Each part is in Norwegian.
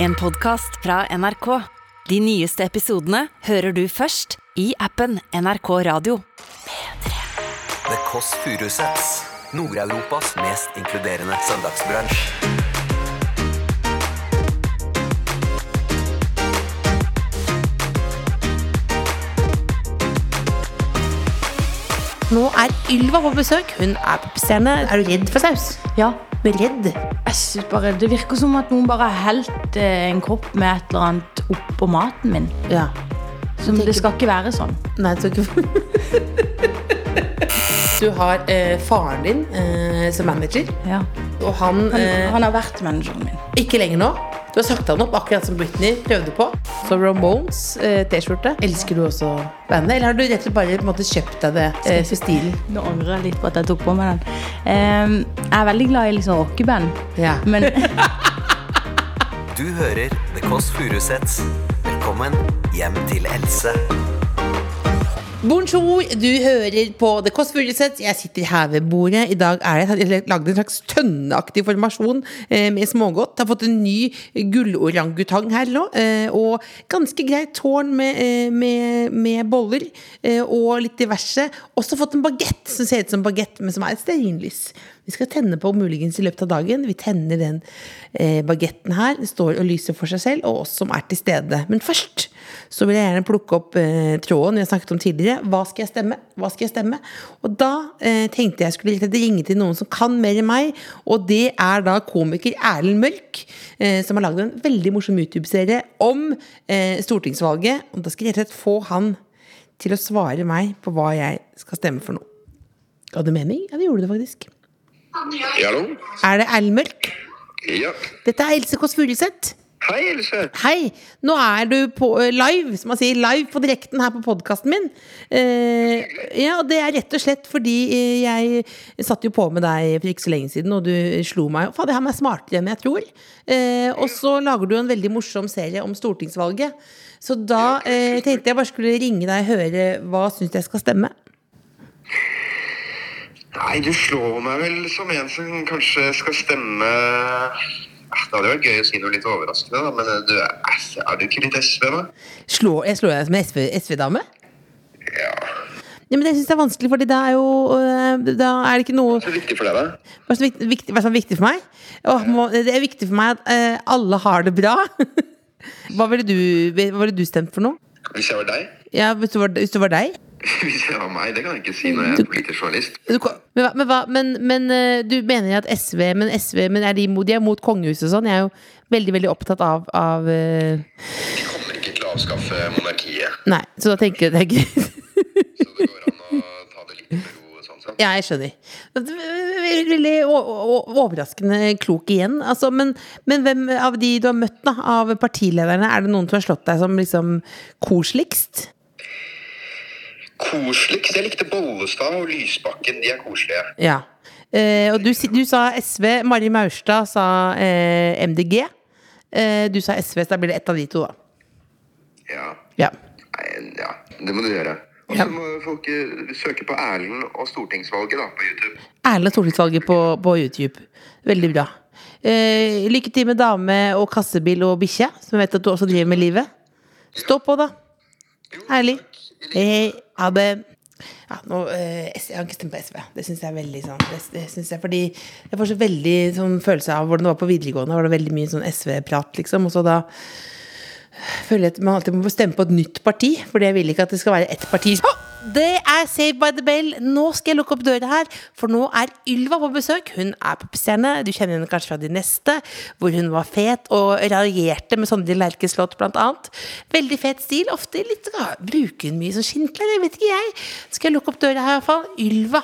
En podcast fra NRK. De nyeste episodene hører du først i appen NRK Radio. The Kåss Furuseths. Nord-Europas mest inkluderende søndagsbransj. Nå er Ylva på besøk. Hun er popstjerne. Er du redd for saus? Ja. Du er redd? Jeg synes bare, Det virker som at noen bare har helt eh, en kopp med et eller annet oppå maten min. Ja. Som Det skal ikke være sånn. Nei, jeg tror ikke Du har eh, faren din eh, som manager, Ja. og han, Han, eh, han har vært manageren min. Ikke lenger nå. Du har sagt han opp, akkurat som Britney prøvde på. Så Ramones eh, T-skjorte. Elsker du også bandet, eller har du rett og slett bare på en måte, kjøpt deg det eh, for stilen? Nå angrer jeg litt på at jeg tok på meg den. Ehm, jeg er veldig glad i liksom rockeband, Ja. men Du hører The Kåss Furuseths. Velkommen hjem til Else. Bonjour, du hører på The Kåss Furuseth. Jeg sitter her ved bordet. I dag er jeg, jeg har lagd en slags tønneaktig formasjon eh, med smågodt. Jeg har fått en ny gullorangutang her nå. Eh, og ganske greit tårn med, eh, med, med boller eh, og litt diverse. Også fått en bagett som ser ut som bagett, men som er et stearinlys. Vi skal tenne på muligens i løpet av dagen. Vi tenner den eh, bagetten her. Den står og lyser for seg selv, og oss som er til stede. Men først så vil jeg gjerne plukke opp eh, tråden vi har snakket om tidligere. Hva skal jeg stemme? Hva skal jeg stemme? Og da eh, tenkte jeg skulle rett og slett ringe til noen som kan mer enn meg, og det er da komiker Erlend Mørk, eh, som har lagd en veldig morsom YouTube-serie om eh, stortingsvalget. Og da skal jeg rett og slett få han til å svare meg på hva jeg skal stemme for noe. Ga det mening? Ja, det gjorde det faktisk. Hallo? Er det Erlend Mørk? Ja. Dette er Else Kåss Furuseth. Hei, Else. Hei! Nå er du på eh, live, som man sier, live på direkten her på podkasten min. Eh, ja, og det er rett og slett fordi eh, jeg satt jo på med deg for ikke så lenge siden, og du slo meg. Fader, han er smartere enn jeg tror. Eh, og så lager du en veldig morsom serie om stortingsvalget. Så da eh, tenkte jeg bare skulle ringe deg og høre hva syns jeg skal stemme. Nei, du slår meg vel som en som kanskje skal stemme Ah, Det hadde vært gøy å si noe litt overraskende, da, men eh, du er, er du ikke litt SV, da? Slår, jeg slår deg som en SV SV-dame? Ja. ja, men jeg syns det er vanskelig, fordi det er jo eh, Da er det ikke noe Så viktig for deg, da? Hva er så viktig, viktig, hva er så viktig for meg? Åh, må, det er viktig for meg at eh, alle har det bra. Hva ville du, hva ville du stemt for nå? Hvis jeg var deg? Ja, hvis, det var, hvis det var deg? Hvis jeg var meg? Det kan jeg ikke si når jeg er politisk journalist. Du, kan- men, hva- men, hva- men, men eh, du mener at SV Men, SV, men er de, imot- de er mot kongehuset og sånn? Jeg er jo veldig veldig opptatt av, av eh, Vi kommer ikke til å avskaffe monarkiet, Nei, så da tenker jeg det er greit. så det går an å ta det litt med ro. og sånn, sånn. Ja, jeg skjønner. Veldig, veldig o- o- overraskende klok igjen. Altså, men, men hvem av de du har møtt, da, av partilederne, er det noen som har slått deg som liksom koseligst? Koseligst? Jeg likte Bollestad og Lysbakken. De er koselige. Ja. Eh, og du, si- du sa SV. Mari Maurstad sa eh, MDG. Eh, du sa SV, så da blir det ett av de to, da. Ja. Ja. Nei, ja, det må du gjøre. Og Ja. så må folk eh, søke på Erlend og stortingsvalget da, på YouTube. Erlend og stortingsvalget på, på YouTube. Veldig bra. Eh, lykke til med dame og kassebil og bikkje, som jeg vet at du også driver med livet. Stå på, da. Ærlig. Hei, hei. Ha det. Ja, nå, eh, S- jeg har ikke stemt på SV. Det syns jeg er veldig sånn det, det synes jeg, Fordi jeg får så veldig sånn følelse av hvordan det var på videregående. Var det veldig mye sånn SV-prat, liksom. Og så da føler jeg at man alltid må stemme på et nytt parti, for jeg vil ikke at det skal være ett parti. Å, det er Saved by the Bell. Nå skal jeg lukke opp døra her, for nå er Ylva på besøk. Hun er popstjerne. Du kjenner henne kanskje fra De neste, hvor hun var fet og raljerte med Sondre Lerches låt, blant annet. Veldig fet stil. Ofte litt ja, Bruker hun mye sånn skinnklær? Jeg vet ikke, jeg. Skal jeg lukke opp døra her, i hvert fall. Ylva.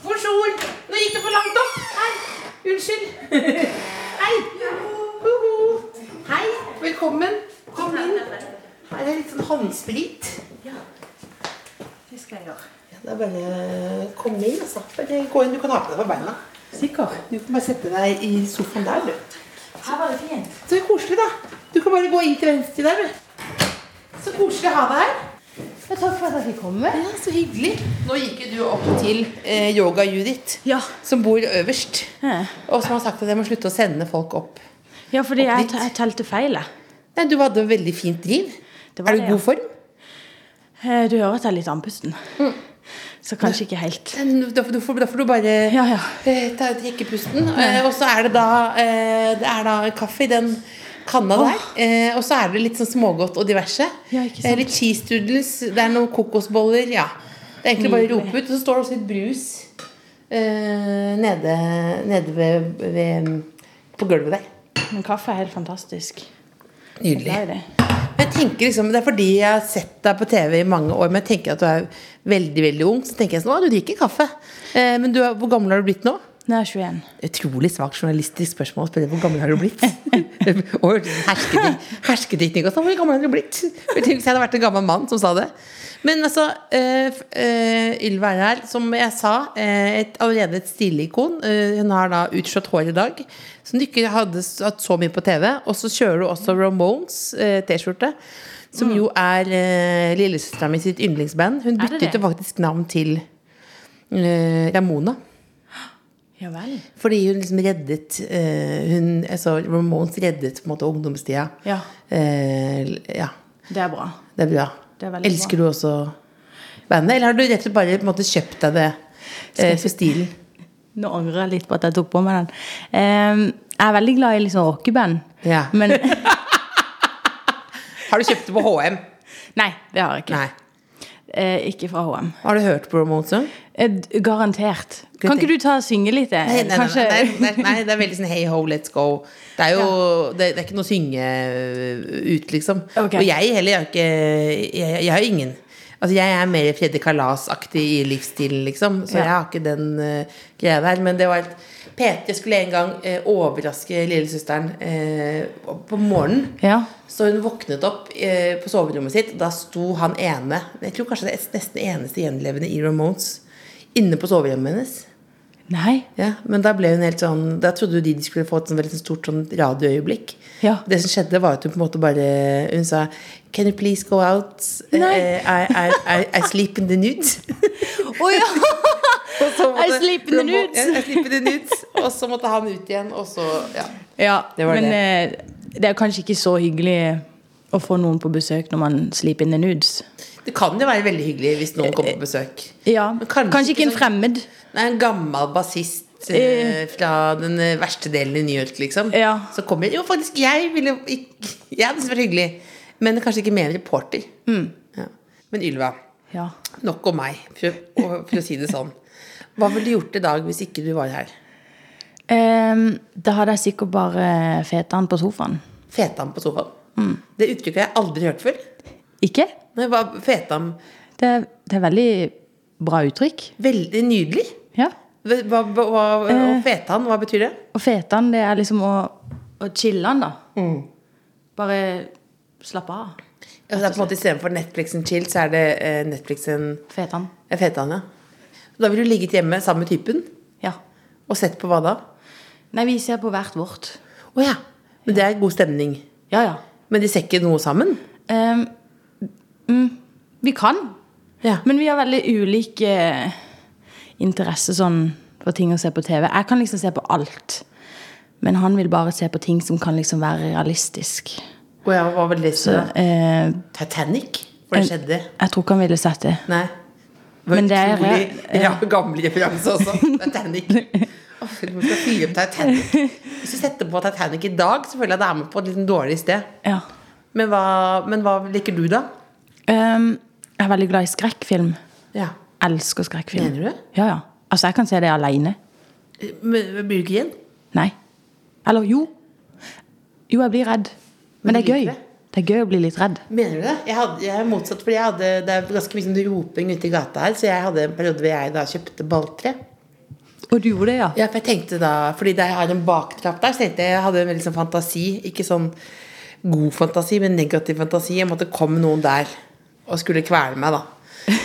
Bonjour! Nå gikk det for langt opp. Hei. Unnskyld. Hei. Hoho. Hei. Velkommen. Kom inn. Her er litt sånn håndsprit. Ja, det skal jeg gjøre. det er bare å komme inn. Altså. Bare gå inn. Du kan ha på deg på beina. Sikker. Du kan bare sette deg i sofaen der, du. Her var det fint. Så koselig, da. Du kan bare gå inn til venstre der, du. Så koselig å ha deg her. Takk for at jeg fikk komme. Ja, Så hyggelig. Nå gikk jo du opp til eh, Yoga Judith, Ja. som bor øverst. Ja. Og som har sagt at jeg må slutte å sende folk opp. Ja, fordi Opp jeg, dit. te- jeg telte feil. jeg. Nei, du hadde veldig fint driv. Det var Er du i det, ja. god form? Eh, Du hører at jeg er litt andpusten. Mm. Så kanskje ikke helt. Men Da får da får- da får du bare Ja, ja. eh, ta trekke pusten. Eh, og så er det da eh, Det er da kaffe i den kanna der. Eh, og så er det litt sånn smågodt og diverse. Ja, ikke sant. Eh, litt cheese doodles, det er noen kokosboller. Ja. Det er egentlig bare å rope ut. Og så står det også litt brus eh, nede, nede ved, ved på gulvet der. Men kaffe er helt fantastisk. Jeg Nydelig. er glad i det. Men jeg tenker liksom, Det er fordi jeg har sett deg på TV i mange år, men jeg tenker at du er veldig veldig ung. Så tenker jeg sånn, å, du drikker kaffe. Eh, men du, er- hvor gammel har du blitt nå? Nå er jeg 21. Utrolig svakt journalistisk spørsmål å spørre hvor gammel har du blitt? og hersketek- hersketeknikk og sånn. Hvor gammel har du blitt? Jeg tenker, Hvis jeg hadde vært en gammel mann som sa det. Men altså, eh, f- eh, Ylva er her, som jeg sa, eh, et, allerede et stilikon. Eh, hun har da utslått hår i dag, som du ikke hadde s- hatt så mye på TV. Og så kjører du også Ramones eh, T-skjorte. Som jo er eh, lillesøstera mi sitt yndlingsband. Hun Mm. Er det byttet det? jo faktisk navn til eh, Ramona. Ja vel. Fordi hun liksom reddet eh, hun, altså Ramones reddet på en måte ungdomstida. Ja. Eh, l- ja. Det er bra. Det er bra. Det er veldig Elsker du også bandet, eller har du rett og slett bare på en måte, kjøpt deg det eh, for stilen? Nå angrer jeg litt på at jeg tok på meg den. Ehm, jeg er veldig glad i liksom rockeband. Ja. Men Har du kjøpt det på HM? Nei, det har jeg ikke. Nei. Eh, ikke fra HM. Har du hørt på Ramones òg? Eh, d- garantert. Kan ikke du ta og synge litt? eh? Nei, nei, nei, Kanskje- nei, nei, nei, det er veldig sånn hey ho, let's go. Det er jo det, det er ikke noe å synge øh, ut, liksom. Ok. Og jeg heller, jeg har ikke Jeg, jeg har ingen. Altså, jeg er mer Freddy Kalas-aktig i livsstilen, liksom. Så Ja. jeg har ikke den øh, greia der. Men det var helt P3 skulle en gang øh, overraske lillesøsteren øh, på morgenen. Ja. Så hun våknet opp eh, på soverommet sitt, og da sto han ene Jeg tror kanskje det er nesten eneste gjenlevende i Ramones inne på soverommet hennes. Nei. Ja, men da ble hun helt sånn Da trodde jo de de skulle få et sånn veldig sånn stort sånn radioøyeblikk. Ja. Det som skjedde, var at hun på en måte bare Hun sa Can you please go out? Nei. Eh, I, I, I, I sleep in the nudes. Å ja! Og så måtte- I sleep in the nudes. Ja, I sleep in the nudes. Og så måtte han ut igjen, og så Ja. ja Det var men eh, det er kanskje ikke så hyggelig eh, å få noen på besøk når man sleeper in the nudes. Det kan jo være veldig hyggelig hvis noen kommer på besøk. Ja, Men kanskje, ikke en sånn- fremmed. Nei, en gammel bassist eh, fra den eh, verste delen i New York, liksom. Ja. Så kommer Jo, faktisk, jeg ville ikke Jeg hadde syntes det var hyggelig, men kanskje ikke med en reporter. Ja. Men Ylva, Ja. nok om meg, for, å- for å si det sånn. Hva ville du gjort i dag hvis ikke du var her? Ehm, da hadde jeg sikkert bare feta han på sofaen. Fetam på sofaen. Det uttrykket har jeg aldri hørt før. Ikke? Nei, hva- Fetam Det er, det er veldig bra uttrykk. Veldig nydelig. Ja. Hva, hva, hva, og fetan, hva betyr det? Og fetan, det er liksom å, å chille han, da. Mm. Bare slappe av. Ja, det er på en måte Istedenfor Netflix and chill, så er det eh, Netflix and Fetan. Jeg vet han, ja. Da ville du ligget hjemme sammen med typen Ja. og sett på hva da? Nei, vi ser på hvert vårt. Å ja. Men det er god stemning. Ja, ja. Men de ser ikke noe sammen? Ehm, mm, vi kan. Ja. Men vi har veldig ulike interesse sånn for ting å se på TV. Jeg kan liksom se på alt. Men han vil bare se på ting som kan liksom være realistisk. Å ja, hva var det Så, som eh, Titanic? Hvor det skjedde? jeg tror ikke han ville sett det. Nei. Det var Men det er- utrolig ra gammel referanse også. Titanic. Åh, Hvorfor skal jeg fyre opp Titanic? Hvis du setter på Titanic i dag, så føler jeg det er med på et litt dårlig sted. Ja. Men hva, men hva liker du, da? Ehm, jeg er veldig glad i skrekkfilm. Ja. Elsker skrekkfilm. Mener du det? Ja, ja. Altså, jeg kan se det aleine. Men, men blir du ikke igjen? Nei. Eller jo. Jo, jeg blir redd. Men Men det du er gøy. liker det? Det er gøy å bli litt redd. Mener du det? Jeg, hadde, jeg er motsatt, fordi jeg hadde, det er ganske mye sånn roping ute i gata her. Så jeg hadde en periode hvor jeg da kjøpte balltre. Og du gjorde det, ja? Ja, for jeg tenkte da, fordi det er en baktrapp der, så tenkte jeg jeg hadde en veldig sånn fantasi. Ikke sånn god fantasi, men negativ fantasi. Jeg måtte komme noen der og skulle kvele meg, da.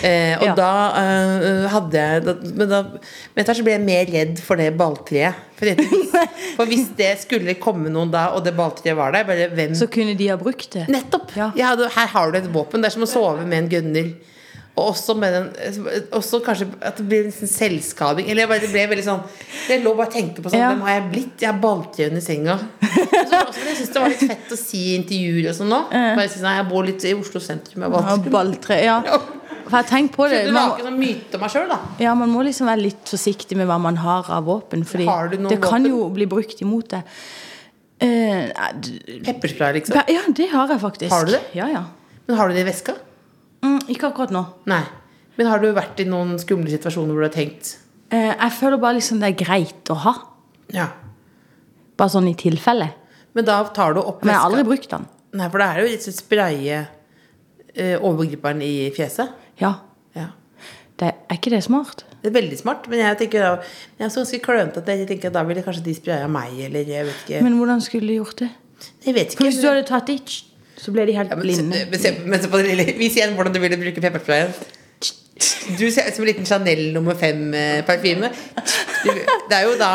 Eh, og Ja. da eh, hadde jeg da, Men da men etter hvert så ble jeg mer redd for det balltreet. For, det, for hvis det skulle komme noen da, og det balltreet var der, bare hvem Så kunne de ha brukt det. Nettopp! Ja. Jeg hadde, her har du et våpen. Det er som å sove med en gunner. Og også, med den, også kanskje at det blir nesten selvskading. Eller jeg bare, det ble veldig sånn Jeg lå bare og tenkte på sånn Ja. Hvem har jeg blitt? Jeg er balltrøen i senga. Og så var det også- men Jeg syns det var litt fett å si i intervjuer og sånn nå. Bare si sånn, jeg bor litt i Oslo sentrum. Jeg er Ja, balltrøen. Balltre, ja. For jeg tenker på det. Du Man, lager en sånn myte om meg sjøl, da. ja, man må liksom være litt forsiktig med hva man har av våpen, fordi Har du noen det kan våpen? jo bli brukt imot deg. Eh, nei, d- Pepperspray, liksom. ja, det har jeg faktisk. Har du det? Ja, ja. Men har du det i veska? Mm, ikke akkurat nå. Nei. Men har du vært i noen skumle situasjoner hvor du har tenkt Eh, jeg føler bare liksom det er greit å ha. Ja. Bare sånn i tilfelle. Men da tar du opp Men jeg har veska aldri brukt den. Nei, for da er det jo litt sånn spraye eh, overgriperen i fjeset. Ja, Ja. det, Er ikke det smart? Det er veldig smart, men jeg tenker da Jeg er så ganske klønete at jeg tenker at da ville kanskje de spraya meg, eller jeg vet ikke. Men hvordan skulle de gjort det? jeg vet For ikke. Hvis du hadde tatt itch, så ble de helt ja, men, blinde. men se, men se på det lille Vis igjen hvordan du ville bruke peppersprayen. Du ser ut som en liten Chanel nummer fem-parfyme. Det er jo da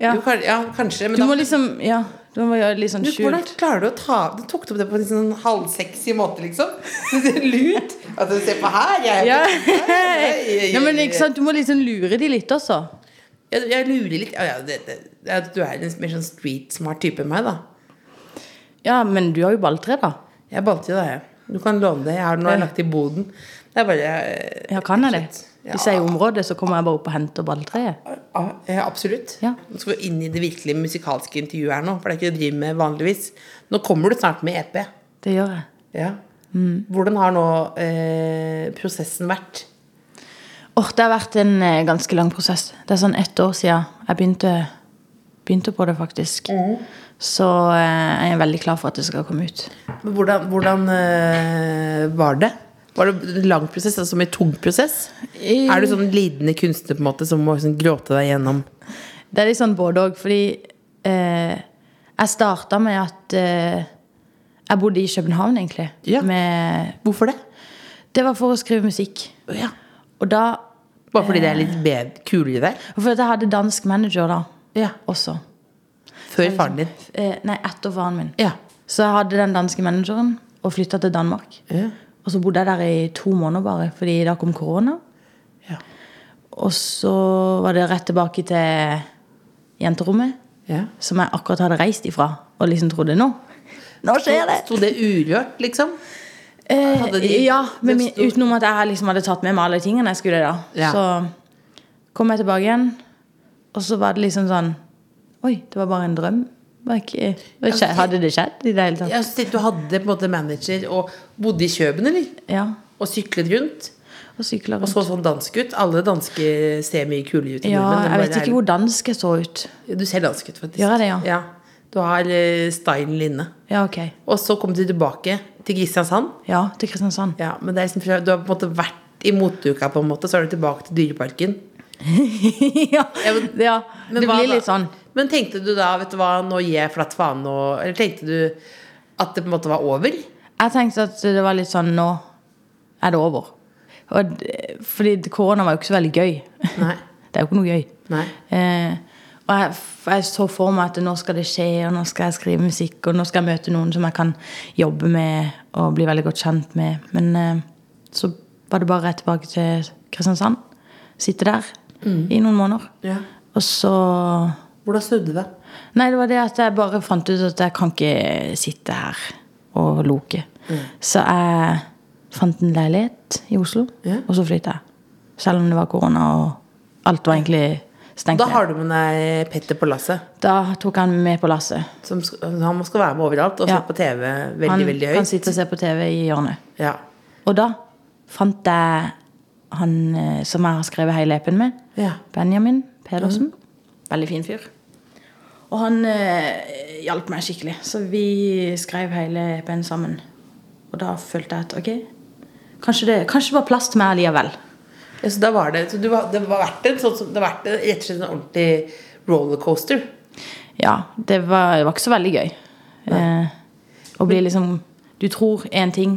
Ja. jo, kan- ja, kanskje, men Du må da liksom Ja, du må gjøre det litt sånn du, hvordan skjult. klarer du å ta Du tok det opp det på en sånn halvsexy måte, liksom? Lut? At du ser på her, jeg er Ja. Nei, Nei, men ikke sant, Du må liksom lure de litt også. Jeg, jeg lurer litt ja, ja, det, det, ja, Du er en mer sånn street smart type enn meg, da. Ja, men du har jo balltre, da. Jeg balte det, jeg. Du kan låne det. Jeg har den nå jeg har lagt i boden. Det er bare eh, Ja, kan jeg det? Ja. Hvis jeg er i området, så kommer jeg bare opp og henter balltreet. ja, ja, Absolutt. Ja. Nå skal vi inn i det virkelige musikalske intervjuet her nå. For det er ikke det du driver med vanligvis. Nå kommer du snart med EP. Det gjør jeg. Ja. Mm. Hvordan har nå eh, prosessen vært? Åh, Det har vært en eh, ganske lang prosess. Det er sånn ett år siden jeg begynte, begynte på det, faktisk. Mm. Så eh, jeg er veldig klar for at det skal komme ut. Men Hvordan, hvordan eh, var det? Var det en lang prosess? Altså som en tung prosess? Eh. Er du sånn lidende kunstner på en måte som må liksom gråte deg gjennom? Det er litt sånn både òg, fordi eh, jeg starta med at eh, Jeg bodde i København, egentlig. Ja. Med, Hvorfor det? det var for å skrive musikk. Ja. Og da Bare fordi det er litt bed- kulere der? For at jeg hadde dansk manager da Ja. også. Før faren din? Eh, nei, etter faren min. Ja. Så jeg hadde den danske manageren og flytta til Danmark. Ja. Og så bodde jeg der i to måneder bare, fordi da kom korona. Ja. Og så var det rett tilbake til jenterommet, Ja. som jeg akkurat hadde reist ifra. Og liksom trodde nå Nå skjer det! Sto det urørt, liksom? Eh, Hadde de- ja, men min, det sto- utenom at jeg liksom hadde tatt med meg alle tingene jeg skulle da. Ja. Så kom jeg tilbake igjen, og så var det liksom sånn Oi, det var bare en drøm. Var ikke, var ikke, hadde det skjedd i det hele tatt? Jeg synes Du hadde på en måte manager og bodde i Kjøben, eller? Ja. Og syklet rundt. Og sykla Og rundt. så sånn dansk ut. Alle danske ser mye kulere ut enn Ja, nordmenn. Det jeg bare vet ikke hvor dansk jeg så ut. er- Du ser dansk ut, faktisk. Gjør jeg det, ja? Du har eh, stylen inne. Ja, ok. Og så kom du tilbake til Kristiansand. Ja, til Kristiansand. Ja, men det er liksom, fra- du har på en måte vært i motuka, på en måte. Så er du tilbake til Dyreparken. ja, Ja, men- ja. Men det hva blir da? litt sånn. Men tenkte du da vet du hva, nå gir jeg flatt faen nå Eller tenkte du at det på en måte var over? Jeg tenkte at det var litt sånn Nå er det over. Og, d- fordi korona var jo ikke så veldig gøy. Nei. Det er jo ikke noe gøy. Nei. Eh, og jeg, f- jeg så for meg at nå skal det skje, og nå skal jeg skrive musikk, og nå skal jeg møte noen som jeg kan jobbe med og bli veldig godt kjent med. Men eh, så var det bare rett tilbake til Kristiansand. Sitte der i noen måneder. Mm. Ja. Og så Hvordan snudde det? Nei, det var det at jeg bare fant ut at jeg kan ikke sitte her og loke. Mm. Så jeg fant en leilighet i Oslo, Ja. og så flytta jeg. Selv om det var korona, og alt var egentlig stengt Da ned. har du med deg Petter på lasset. Da tok han meg med på lasset. Som sk- Han skal være med overalt og Ja. se på TV veldig, Han veldig kan høyt. sitte og se på TV i hjørnet. Ja. Og da fant jeg han eh, som jeg har skrevet hele epen med. Ja. Mm. Benjamin Pedersen. Veldig fin fyr. Og han eh, hjalp meg skikkelig. Så vi skrev hele epen sammen. Og da følte jeg at ok, kanskje det, kanskje det var plass til meg likevel. Ja, så da var det, så du, var- det var verdt en sånn som det var verdt en, rett og slett en ordentlig rollercoaster. Ja, det var, det var ikke så veldig gøy. Eh, å bli liksom Du tror én ting,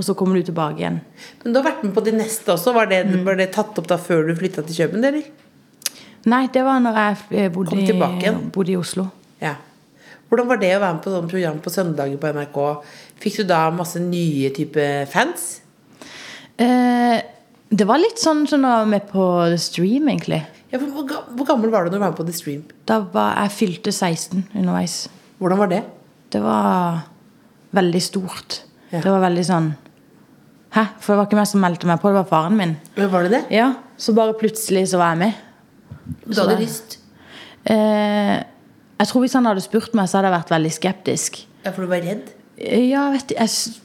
og så kommer du tilbake igjen. Men du har vært med på de neste også. Var det, var det tatt opp da før du flytta til København, eller? Nei, det var når jeg eh, bodde, Kom tilbake i, igjen. bodde i Oslo. Ja. Hvordan var det å være med på sånn program på søndager på NRK? Fikk du da masse nye type fans? Eh, det var litt sånn som da vi på The Stream, egentlig. Ja, for hvor, ga- hvor gammel var du når du var med på The Stream? Da var jeg fylte 16 underveis. Hvordan var det? Det var veldig stort. Ja. Det var veldig sånn Hæ? For det var ikke meg som meldte meg på, det var faren min. Men var det det? Ja, Så bare plutselig så var jeg med. Du hadde lyst? Eh, jeg tror Hvis han hadde spurt meg, så hadde jeg vært veldig skeptisk. Ja, for du var redd? Eh, Ja, jeg vet, jeg, s-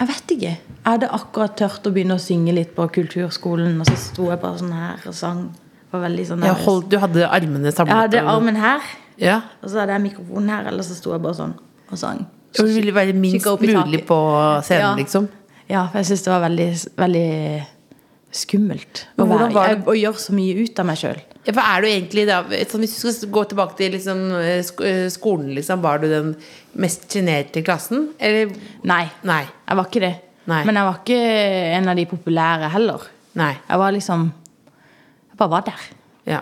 jeg vet ikke. Jeg hadde akkurat tørt å begynne å synge litt på kulturskolen, og så sto jeg bare sånn her og sang. Det Var veldig sånn Ja, nervøs. hold, du hadde armene jeg samlet? hadde og- armen her, Ja. og så hadde jeg mikrofonen her, eller så sto jeg bare sånn og sang. Og du ville være minst Kikke opp i taket. mulig på scenen, Ja. liksom? Ja, for jeg syns det var veldig, veldig skummelt å, Men hvordan være, var jeg, å gjøre så mye ut av meg sjøl. Ja, for er du egentlig da, sånn, Hvis du skal gå tilbake til liksom, eh, sk- eh, skolen, liksom, var du den mest sjenerte i klassen? Eller Nei, Nei. jeg var ikke det. Nei. Men jeg var ikke en av de populære heller. Nei. Jeg var liksom Jeg bare var der. Ja.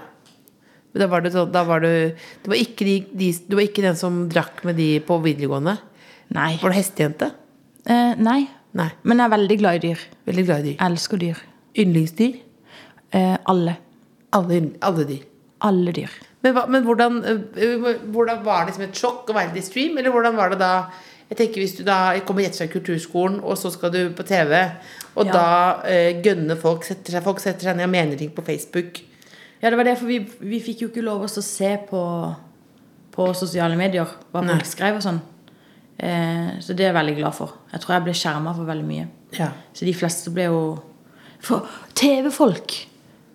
Men da var du sånn Da var du Du var ikke, de, de, du var ikke den som drakk med de på videregående? Nei. Var du hestejente? Eh, nei. Nei. Men jeg er veldig glad i dyr. Veldig glad i dyr. Jeg elsker dyr. Yndlingsdyr? Eh, alle. Alle, ynd- alle dyr. Alle dyr. Men, hva- men hvordan, øh, hvordan var det som et sjokk å være i stream? Eller hvordan var det da Jeg tenker Hvis du da kommer rett fra kulturskolen, og så skal du på TV, og Ja. da øh, gønner folk setter seg, Folk setter seg ned og mener ting på Facebook. Ja, det var det, for vi, vi fikk jo ikke lov oss å se på, på sosiale medier hva folk skrev og sånn. Eh, så det er jeg veldig glad for. Jeg tror jeg ble skjerma for veldig mye. Ja. Så de fleste ble jo For TV-folk,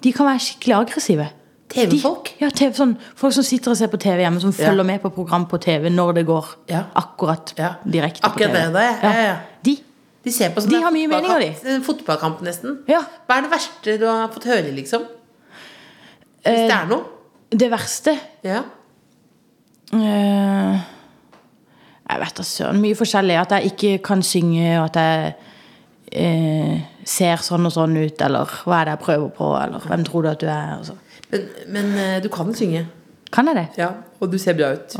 de kan være skikkelig aggressive. TV-folk? De- Ja, TV, sånn, folk som sitter og ser på TV hjemme, som Ja. følger med på program på TV når det går Ja. akkurat Ja. direkte Akkurat på TV. det, det er- ja, ja, ja. De. De ser på sånn De har mye meninger, de. fotballkamp- Fotballkamp, nesten. Ja. Hva er det verste du har fått høre, liksom? Hvis det er noe? Det verste Eh, Ja. Eh, Jeg vet da søren. Mye forskjellig. At jeg ikke kan synge, og at jeg eh, ser sånn og sånn ut, eller hva er det jeg prøver på, eller hvem tror du at du er? Og så. Men, men øh, du kan synge. Kan jeg det? Ja. Og du ser bra ut.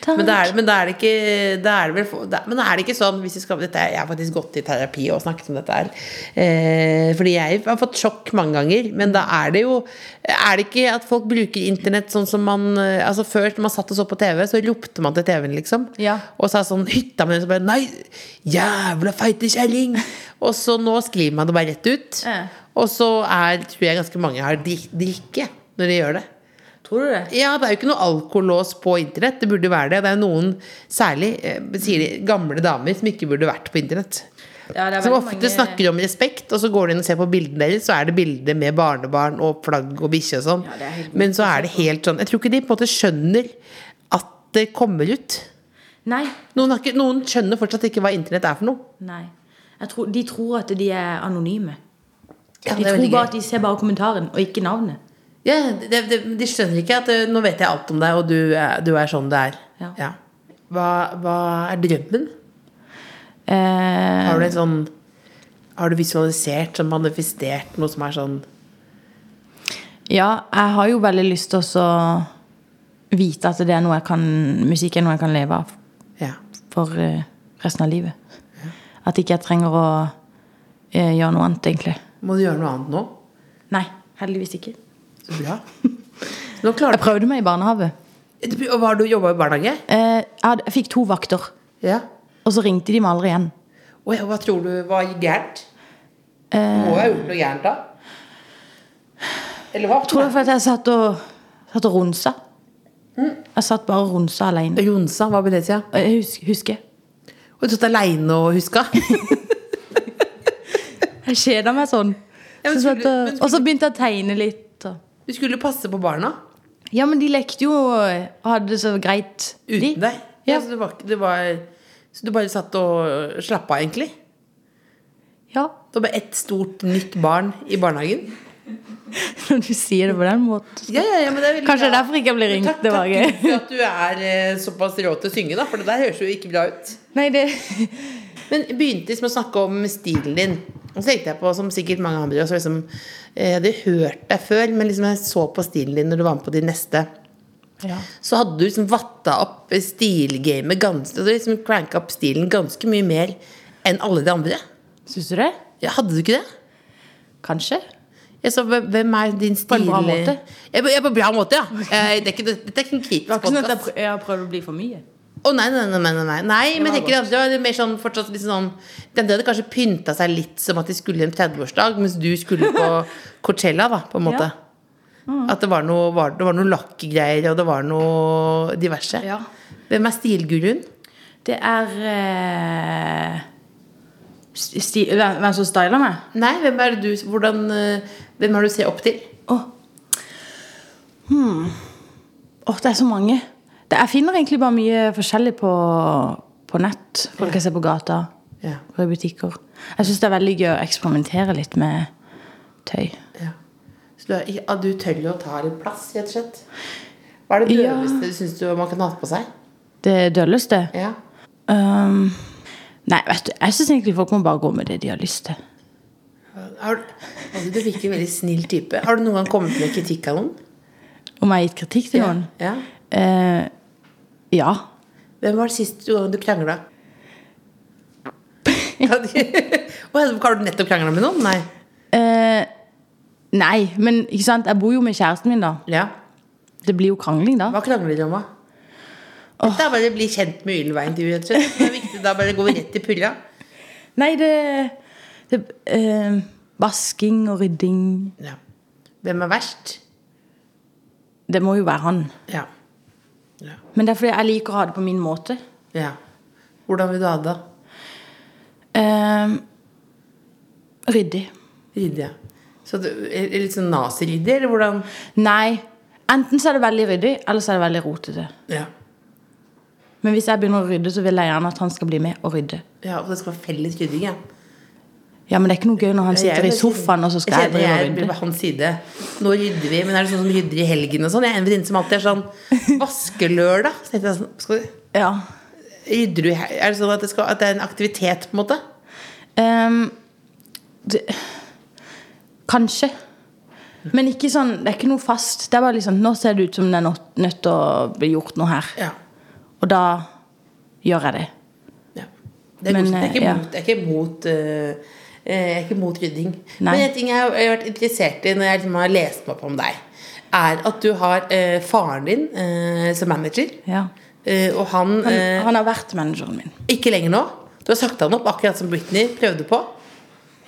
Takk. Men da er, det- men da er det ikke da er det vel, få- da, Men er det ikke sånn hvis vi skal, dette, er- Jeg har faktisk gått i terapi og snakket om dette her. Eh, fordi jeg har fått sjokk mange ganger. Men da er det jo Er det ikke at folk bruker internett sånn som man eh, Altså Før når man satt og så på TV, så ropte man til TV-en, liksom. Ja. Og sa sånn hytta mi, så bare Nei, jævla feite kjerring! og så nå skriver man det bare rett ut. Ja. Og så er, tror jeg ganske mange har drik- drikke når de gjør det. Tror du det? Ja, det er jo ikke noe alkolås på internett. Det burde jo være det. Det er jo noen, særlig eh, sier de, gamle damer, som ikke burde vært på internett. Ja, det er Som veldig ofte mange- snakker om respekt, og så går de inn og ser på bildene deres, så er det bilder med barnebarn og flagg og bikkje og sånn. Ja, det er helt altså. Men så er det helt sånn Jeg tror ikke de på en måte skjønner at det kommer ut. Nei. Noen, har ikke, noen skjønner fortsatt ikke hva internett er for noe. Nei. Jeg tror, de tror at de er anonyme. Ja, det de er tror veldig bare gøy. at de ser bare kommentaren, og ikke navnet. Ja, de, de, de skjønner ikke at eh, nå vet jeg alt om deg, og du, er- du er sånn du er. Ja. Hva, hva er drømmen? Eh, Har du en sånn Har du visualisert, sånn manifestert noe som er sånn ja, jeg har jo veldig lyst til å så vite at det er noe jeg kan, musikk er noe jeg kan leve av. Ja. for eh, resten av livet. At ikke jeg trenger å eh, gjøre noe annet, egentlig. Må du gjøre noe annet nå? Nei, heldigvis ikke. Så bra. Nå klarer Jeg prøvde meg i barnehage. du Og hva har du jobba i barnehage? Eh, jeg, hadde, jeg fikk to vakter, Ja. og så ringte de meg aldri igjen. Og ja, hva tror du var gærent? Du må jo ha gjort noe gærent da? Eller hva? Tror du for at jeg satt og, satt og ronsa? Jeg satt bare og ronsa alene. Jonsa, hva vil det si? Og Jeg husker, husker. Og du satt aleine og huska? Jeg kjeda meg sånn. Ja, men Så satt skulle- men og, skulle- og så begynte jeg å tegne litt. Og. Du skulle passe på barna Ja, men de lekte jo og hadde det så greit. de. uten deg. Ja. så, du var, ikke- det var, så du bare satt og slappa av, egentlig? Ja, Det var bare ett stort, nytt barn i barnhagen? når du sier det på den måten. Ja, ja, ja, men det er veldig Kanskje bra. derfor ikke jeg ble Men ringt, Takk, det var takk gøy. Gud, for at du er eh, såpass rå til å synge, da, for det der høres jo ikke bra ut. Nei, det Men jeg begynte liksom å snakke om stilen din. Og så tenkte jeg på, som sikkert mange andre også, liksom, eh, Jeg hadde hørt deg før, men liksom jeg så på stilen din når du var med på de neste. ja. Så hadde du liksom vatta opp altså stilgamet ganske Du hadde liksom cranka opp stilen ganske mye mer enn alle de andre. Syns du det? Ja, hadde du ikke det? Kanskje. Jeg så, hve- hvem er din stil På en bra måte. Ja, på, ja, på en bra måte, ja. Eh, Det er ikke, det, dette er ikke en Det var ikke sånn at jeg, kritisk-podkast. prø jeg har prøvd å bli for mye. Å nei, nei, nei, nei, nei, nei. nei men jeg Det tenker var at det var mer sånn fortsatt litt sånn Den hadde kanskje pynta seg litt som at de skulle i en 30-årsdag, mens du skulle på Coachella, da, på en måte. Ja. Mm. At det var noe, var, det var noe lakkegreier, og det var noe diverse. Ja. Hvem er stilguruen? Det er eh, sti, sti- Hvem hvem som styler meg? Nei, hvem er det du hvordan, eh, Hvem har du sett opp til? Åh. Hmm. Åh, det er så mange. Det, jeg finner egentlig bare mye forskjellig på, på nett. Folk jeg ser på gata. Ja. Og i butikker. Jeg syns det er veldig gøy å eksperimentere litt med tøy. Ja. Så du, er, ikke- ah, du tør jo å ta litt plass, rett og slett? Hva er det Ja. døveste du syns du man kan ha på seg? Det dølleste. Ja. Um, nei, vet du, jeg syns egentlig folk må bare gå med det de har lyst til. Har du, altså, du virker en veldig snill type. Har du noen gang kommet med kritikk av noen? Om jeg har gitt kritikk til noen? Ja. Eh, ja. Hvem var det siste gang du krangla? Kan du- Å, Har du nettopp krangla med noen? Nei. Eh, nei, men ikke sant, jeg bor jo med kjæresten min, da. Ja. Det blir jo krangling, da. Hva krangler dere om, da? Dette er bare å bli kjent med Ylva-intervjuet, rett og slett. Det er viktig, da bare går vi rett i pulla. Nei, det, det eh, Vasking og rydding. Ja. Hvem er verst? Det må jo være han. Ja. Men det er fordi jeg liker å ha det på min måte. ja. Hvordan vil du ha det, da? Eh, ryddig. Ryddig, ja. Så du er er litt sånn naziryddig, eller hvordan? Nei. Enten så er det veldig ryddig, eller så er det veldig rotete. Ja. Men hvis jeg begynner å rydde, så vil jeg gjerne at han skal bli med og rydde. ja og det skal være felles rydding, ja. Ja, Men det er ikke noe gøy når han sitter i Jeg- sofaen, og så skal jeg kjenner drive og jeg blir på rydde. hans side. Nå rydder vi, men er det sånn som rydder i helgen og sånn? Jeg er en venninne som alltid er sånn vaskelørdag. Så tenkte jeg sånn, skal du, Ja. rydder du i hel- Er det sånn at det, skal, at det er en aktivitet, på en måte? Ehm, det, kanskje. Men ikke sånn, det er ikke noe fast. Det er bare liksom, Nå ser det ut som det er nødt nødt til å bli gjort noe her. Ja. Og da gjør jeg det. Ja. Det er Men, men, jeg, er ikke eh, ja. mot, jeg er ikke mot øh, eh, Jeg er ikke mot rydding. Nei. Men en ting jeg har, jeg har vært interessert i når jeg liksom har lest meg opp om deg, er at du har eh, faren din eh, som manager. Ja. Eh, og han, Han, eh, han har vært manageren min. Ikke lenger nå. Du har sagt han opp, akkurat som Britney prøvde på.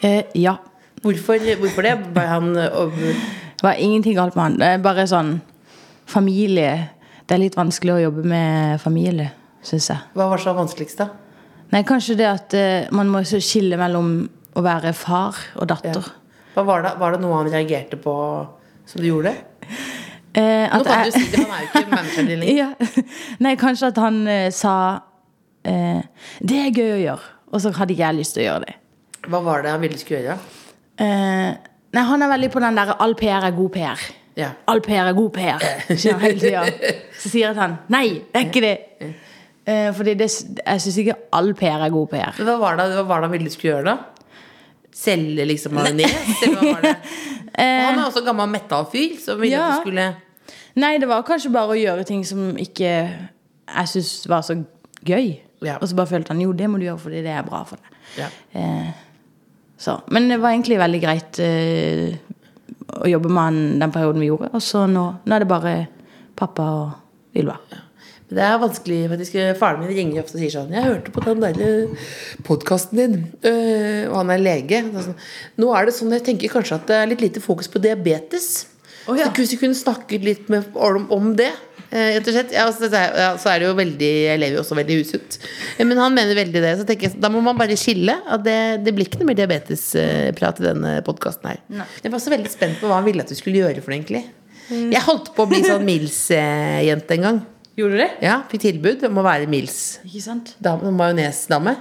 Eh, ja. Hvorfor, hvorfor det? Var han eh, og, Det var ingenting galt med han. Det er bare sånn Familie. Det er litt vanskelig å jobbe med familie, syns jeg. Hva var så vanskeligst, da? Nei, kanskje det at eh, man må så skille mellom å være far og Ja. datter. Hva var, det, var det noe han reagerte på som du gjorde? Eh, Nå at kan jeg- du si det, han er jo ikke manager din lenger. ja. Nei, kanskje at han eh, sa eh, Det er gøy å gjøre. Og så hadde ikke jeg lyst til å gjøre det. Hva var det han ville skulle gjøre? Eh, nei, han er veldig på den derre all PR er god PR. Ja. All PR er god PR. sier han hele tiden. Så sier han nei, det er ikke det. Eh, fordi det, jeg syns ikke all PR er god PR. Men Hva var det, hva var det han ville skulle gjøre, da? Selge liksom majones? Eller hva var det? Han er også gammel metal-fyr, så ville Ja. at du skulle Nei, det var kanskje bare å gjøre ting som ikke jeg syns var så gøy. Ja. Og så bare følte han jo, det må du gjøre fordi det er bra for deg. ja. Så, men det var egentlig veldig greit eh, å jobbe med han den perioden vi gjorde. Og så nå, nå er det bare pappa og Ylva. Men Det er vanskelig, faktisk. Faren min ringer ofte og sier sånn 'Jeg hørte på den der podkasten din', øh, og han er lege. Så er det sånn, Nå er det sånn jeg tenker kanskje at det er litt lite fokus på diabetes. Å, ja. Så Hvis vi kunne snakket litt med, om, om det. eh, Rett og slett. Ja, så, ja, så er det jo veldig Jeg lever jo også veldig usunt. Eh, Men han mener veldig det. Så tenker jeg, så da må man bare skille. At det, det blir ikke noe mer diabetesprat i denne podkasten her. Jeg var også veldig spent på hva han ville at du skulle gjøre for det, egentlig. Mm. Jeg holdt på å bli sånn Mills-jente en gang. Gjorde du det? Ja, fikk tilbud om å være Mils Ikke sant? dame, majonesdame.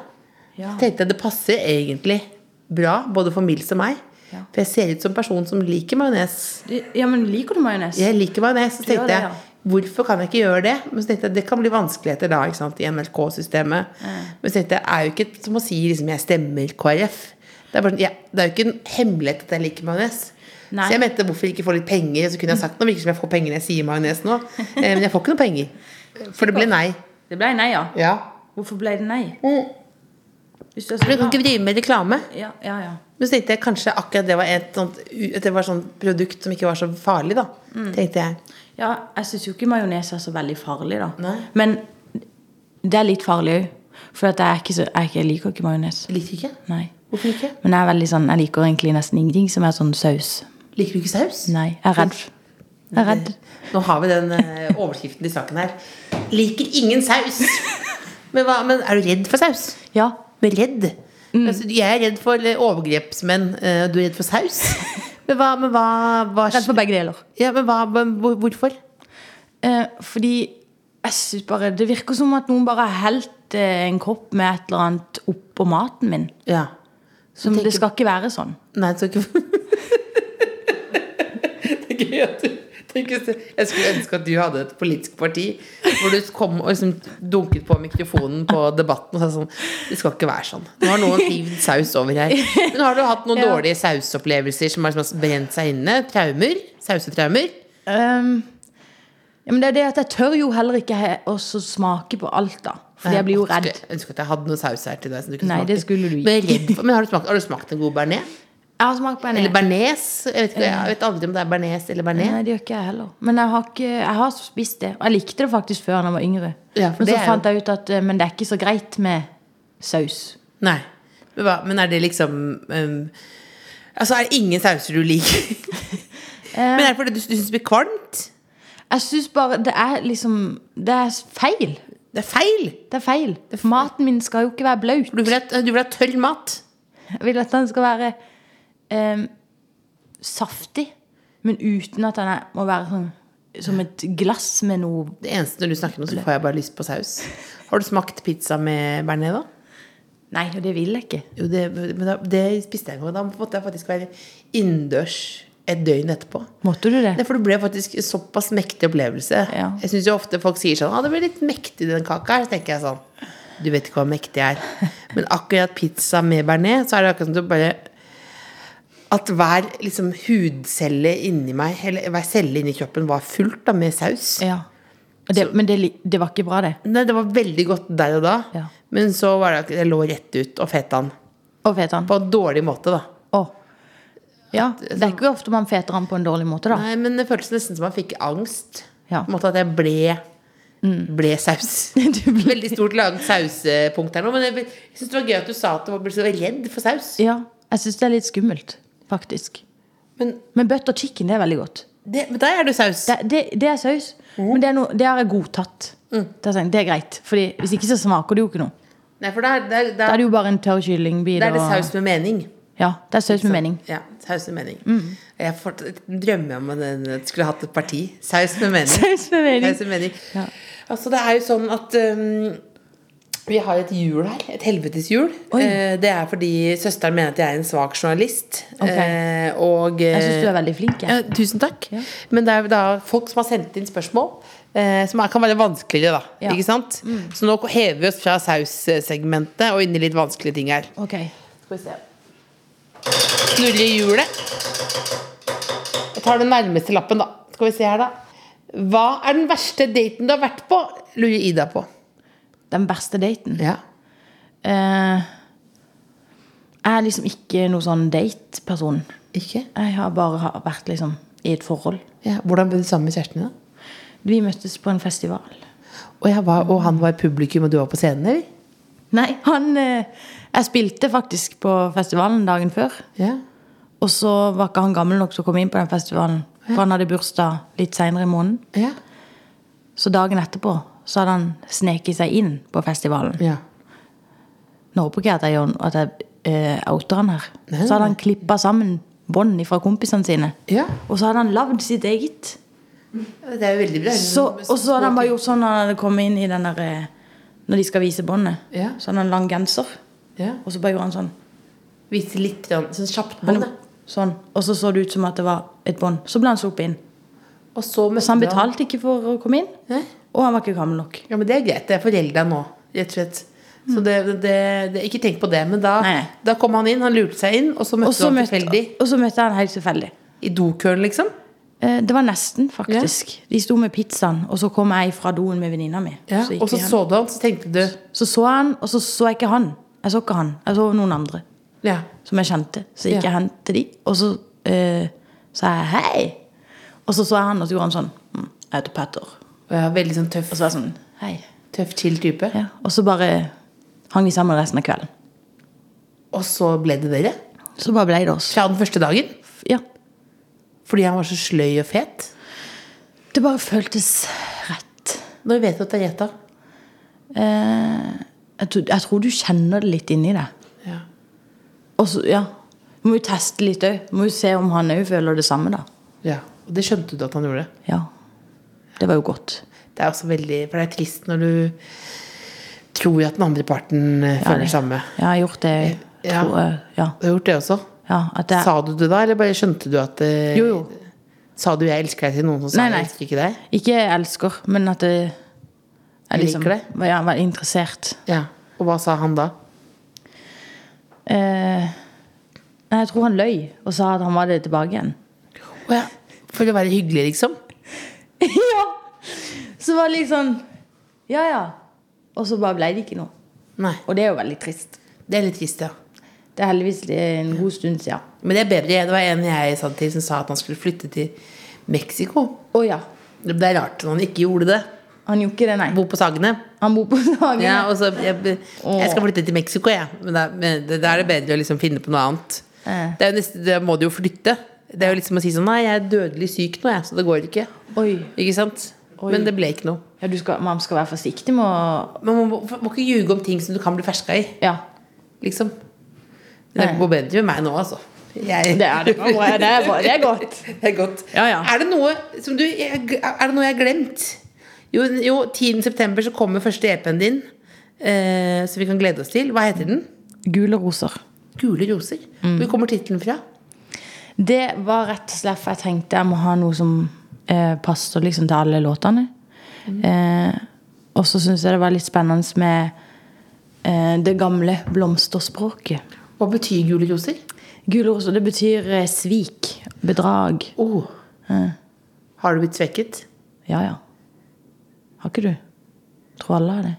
Ja. Tenkte jeg det passer egentlig bra, både for Mils og meg. Ja. For jeg ser ut som en person som liker majones. Ja, men liker du majones? Jeg liker majones. Så Du gjør tenkte det, jeg, hvorfor kan jeg ikke gjøre det? Men så tenkte jeg, det kan bli vanskeligheter da, ikke sant, i NRK-systemet. Men så tenkte jeg, det er jo ikke som å si liksom, jeg stemmer KrF. Det er, bare, sånn, ja, det er jo ikke en hemmelighet at jeg liker majones. Nei. Så jeg mente hvorfor ikke få litt penger? Så kunne jeg sagt nå virker det som jeg får penger når jeg sier majones nå. Eh, Men jeg får ikke noe penger. For det ble nei. Det ble nei, ja. Ja. Hvorfor ble det nei? Hvis du er For Mm. du kan ikke drive med reklame. Ja, ja, ja. Men så tenkte jeg kanskje akkurat det var et sånt, u- at det var sånn produkt som ikke var så farlig, da. Tenkte jeg. Ja, jeg syns jo ikke majones er så veldig farlig, da. Nei. Men det er litt farlig òg. For at jeg, er ikke så, jeg, er ikke- jeg liker ikke majones. Liker ikke? Nei. Hvorfor ikke? Men jeg er veldig sånn, jeg liker egentlig nesten ingenting som er sånn saus. Liker du ikke saus? Nei, jeg er redd. Jeg er redd. Nå har vi den eh, overskriften i saken her. Liker ingen saus! Men, hva, men er du redd for saus? Ja. Men redd? Altså, jeg er redd for eh, overgrepsmenn, eh, og du er redd for saus? Men hva, men hva, hva Redd for begge deler. Ja, men hva, men hvor- hvorfor? Eh, fordi jeg synes bare, det virker som at noen bare har helt eh, en kopp med et eller annet oppå maten min. Ja. Som, tenker- det skal ikke være sånn. Nei, så ikke Det er gøy at du tenker så- Jeg skulle ønske at du hadde et politisk parti hvor du kom og liksom dunket på mikrofonen på debatten og sa sånn Det skal ikke være sånn. Nå har noen hivd saus over her. Men har du hatt noen Ja. dårlige sausopplevelser som har liksom har brent seg inne? Traumer? Sausetraumer? Ehm, ja, men det er det at jeg tør jo heller ikke he- å så smake på alt, da. Fordi jeg blir jo Åh, redd. skulle- Jeg ønsker at jeg hadde noe saus her til deg som du kunne Nei, smake. det skulle du ikke. Men, jeg er redd for, men har, du smakt, har du smakt en god bearnés? Jeg har smakt på en Eller bearnés? Jeg vet, ikke, jeg vet aldri om det er bearnés eller bearnés. Nei, det gjør ikke jeg heller. Men jeg har, ikke, jeg har spist det. Og jeg likte det faktisk før da jeg var yngre. Ja, for men det er så jo- fant jeg ut at eh, men det er ikke så greit med saus. Nei. Men, hva, men er det liksom ehm, Altså, er det ingen sauser du liker? men er det fordi du, du syns det blir kvalmt? Jeg syns bare det er liksom Det er feil. Det er feil! Det er feil. Maten min skal jo ikke være blaut. Du vil, ha, eh, du vil ha tørr mat. Jeg vil at den skal være eh, saftig, men uten at den er, må være sånn som et glass med noe Det eneste når du snakker nå, så får jeg bare lyst på saus. Har du smakt pizza med bearnés, da? Nei, og det vil jeg ikke. Jo, det, men da, det spiste jeg en gang. Da måtte jeg faktisk være innendørs et døgn etterpå. Måtte du det? Nei, for det ble faktisk en såpass mektig opplevelse. Ja. Jeg syns jo ofte folk sier sånn 'Å, det ble litt mektig, den kaka her'. Så tenker jeg sånn Du vet ikke hva mektig er. Men akkurat pizza med bearnés, så er det akkurat som du bare At hver liksom, hudcelle inni meg, eller hver celle inni kroppen, var fullt da, med saus. Ja. Og det, men det, li- det var ikke bra, det. Nei, det var veldig godt der og da, Ja. men så var det akkurat Jeg lå rett ut og feta'n. Og fetaen. På en dårlig måte, da. Å. Ja, det er ikke ofte man feter han på en dårlig måte, da. Nei, men det føltes nesten som man fikk angst. Ja. På en måte at jeg ble Ble saus. Du ble- Veldig stort langt sausepunkt her nå. Men jeg, jeg syns det var gøy at du sa at du var- ble så redd for saus. Ja, jeg syns det er litt skummelt, faktisk. Men, Men butter chicken, det er veldig godt. det, men der er du saus. Det, det, det er saus, Mm. men det, er noe- det har jeg godtatt. Det, er sånn, det er greit, Fordi hvis ikke så smaker det jo ikke noe. Nei, for der, der, Da der, er det jo bare en tørr kyllingbit. der er det og- saus med mening. Ja, det er saus med mening. Ja, saus med mening. Mm. Jeg får, drømmer om at jeg skulle hatt et parti. Saus med mening. Saus med mening. Saus med mening. Ja. Altså, det er jo sånn at um, vi har et hjul her. Et helvetes hjul. Oi. Eh, det er fordi søsteren mener at jeg er en svak journalist. Ok. Eh, og eh, Jeg syns du er veldig flink. Ja, Jeg. tusen takk. Men det er jo da folk som har sendt inn spørsmål, eh, som er- kan være vanskeligere, da. Ja. Mm. Ikke sant? Så nå hever vi oss fra saussegmentet og inn i litt vanskelige ting her. Ok, Skal vi se. Snurre i hjulet. Jeg tar den nærmeste lappen, da. Skal vi se her, da. Hva er den verste daten du har vært på? Lurer Ida på. Den verste daten. Ja. Eh, jeg er liksom ikke noe sånn date-person. Ikke? Jeg har bare ha- vært liksom i et forhold. Ja. Hvordan ble du sammen med kjæresten din, da? Vi møttes på en festival. Og, jeg var, og han var i publikum, og du var på scenen, eller? Nei, han eh, Jeg spilte faktisk på festivalen dagen før. Ja. Og så var ikke han gammel nok til å komme inn på den festivalen. For han hadde bursdag litt seinere i måneden. Ja. Så dagen etterpå så hadde han sneket seg inn på festivalen. ja. Nå håper ikke jeg at jeg, gjør- at jeg eh, outer han her. Nei, Så hadde han klippa sammen bånd fra kompisene sine. Ja. Og så hadde han lagd sitt eget. Det er jo veldig bra. Så, og så hadde han bare gjort sånn når han hadde kommet inn i den der eh, Når de skal vise båndet. Ja. Så hadde han lang genser. Ja. Og så bare gjorde han sånn. Vise litt grann, sånn kjapt Han, bånd. da. sånn. Og så så det ut som at det var et bånd. Så ble han sluppet inn. Og så møtte Så han betalte ikke for å komme inn. Hæ? Og han var ikke gammel nok. Ja, men det er greit. Det er forelda nå, rett og slett. Så det, det, det, ikke tenk på det. Men da, Nei, nei. da kom han inn, han lurte seg inn, og så Og møtte så han møtte, tilfeldig og så møtte han helt tilfeldig. i dokøen, liksom. Eh, Det var nesten, faktisk. De sto med pizzaen, og så kom jeg fra doen med venninna mi. Ja. gikk Og så vi hen. så du han, så tenkte du så så han, og så så jeg ikke han. Jeg så ikke han. Jeg så noen andre Ja. som jeg kjente. Så gikk Ja. jeg hen til de, og så eh, sa jeg hei. Og så så jeg han, og så gjorde han sånn «Hm, Jeg heter Petter. Og jeg er veldig sånn tøff, Og så var jeg sånn Hei. tøff chill type. Ja. Og så bare hang vi sammen resten av kvelden. Og så ble det dere. Så bare ble det oss. Fra den første dagen. Ja. Fordi han var så sløy og fet. Det bare føltes rett. Eh, Når vet du at det er rett, da? Jeg tror, jeg tror du kjenner det litt inni deg. Ja. Og så, ja. Du må jo teste litt òg. Må jo se om han òg føler det samme, da. Ja, og det skjønte du at han gjorde. Ja. Det var jo godt. Det er også veldig, for det er trist når du tror at den andre parten eh, føler det samme. Jeg har gjort det. Jeg Ja. tror, jeg- ja. Du har gjort det også. ja at det, Sa du det da, eller bare skjønte du at eh, Jo, jo. Sa du 'jeg elsker deg' til noen som sa Nei, 'jeg nei. elsker ikke deg'? Ikke jeg elsker, men at det, Jeg jeg liksom liker det. var, ja, var interessert. Ja. Og hva sa han da? Eh, nei, jeg tror han løy og sa at han var det tilbake igjen. Å ja. For å være hyggelig, liksom? ja! Så var det liksom Ja, ja. Og så bare ble det ikke noe. Nei. Og det er jo veldig trist. Det er litt trist, ja. Det er heldigvis en god stund siden. Men det er bedre. Det var en jeg sa det til, som sa at han skulle flytte til Mexico. Å ja. Det er rart når han ikke gjorde det. Han gjorde ikke det, nei. Bo på Sagene. Han bor på Sagene. Ja, og så, jeg, jeg skal flytte til Mexico, jeg. Men da men det- da er det bedre å liksom finne på noe annet. Eh. Det er jo nesten, da må du jo flytte. Det er jo liksom å si sånn Nei, jeg er dødelig syk nå, jeg, så det går ikke. Oi. Ikke sant? Men det ble ikke noe. Ja, du skal, man skal være forsiktig med å Man må, må ikke ljuge om ting som du kan bli ferska i, Ja. liksom. Det Nei. går bedre med meg nå, altså. Jeg, Det er det. bare- Det er, bare- det er godt. Det er godt. Ja, ja. Er det noe som du Er det noe jeg har glemt? Jo, jo 10. september så kommer første EP-en din, eh, som vi kan glede oss til. Hva heter den? Gule roser. Gule roser. Mm. Hvor kommer tittelen fra? Det var rett og slett for jeg tenkte jeg må ha noe som eh, passer liksom til alle låtene. Eh, og så syns jeg det var litt spennende med eh, det gamle blomsterspråket. Hva betyr gule roser? Gule roser, det betyr eh, svik, bedrag. Oh. Har du blitt svekket? Ja, ja. Har ikke du? Tror alle har det.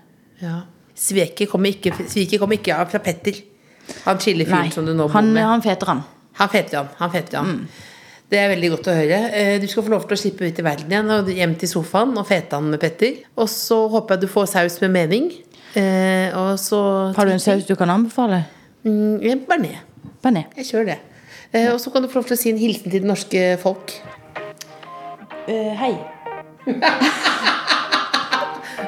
Ja. Sveket kommer ikke, sviket kommer ikke av fra Petter. Han chille Nei, fyren som du nå bor han, med. han feter han. Han feter han. han, feter han. Mm. Det er veldig godt å høre. Eh, Du skal få lov til å slippe ut i verden igjen og hjem til sofaen og fete han med Petter. Og så håper jeg du får saus med mening. Eh, og så Har du en saus du kan anbefale? Mm, ja, Bearnés. Bearnés. Jeg kjører det. Eh, og så kan du få lov til å si en hilsen til det norske folk. Eh, hei.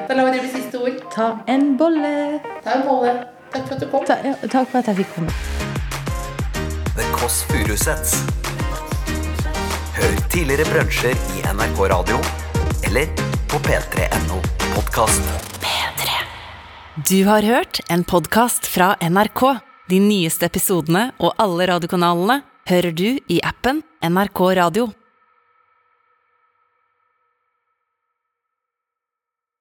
Da lar vi det bli siste ord. Ta en bolle. Ta en bolle. Takk for at du kom. Ta, ja, takk for at jeg fikk komme. The Kåss Furuseths. Hør tidligere brunsjer i NRK Radio eller på p3.no podkast. Du har hørt en podkast fra NRK. De nyeste episodene og alle radiokanalene hører du i appen NRK Radio.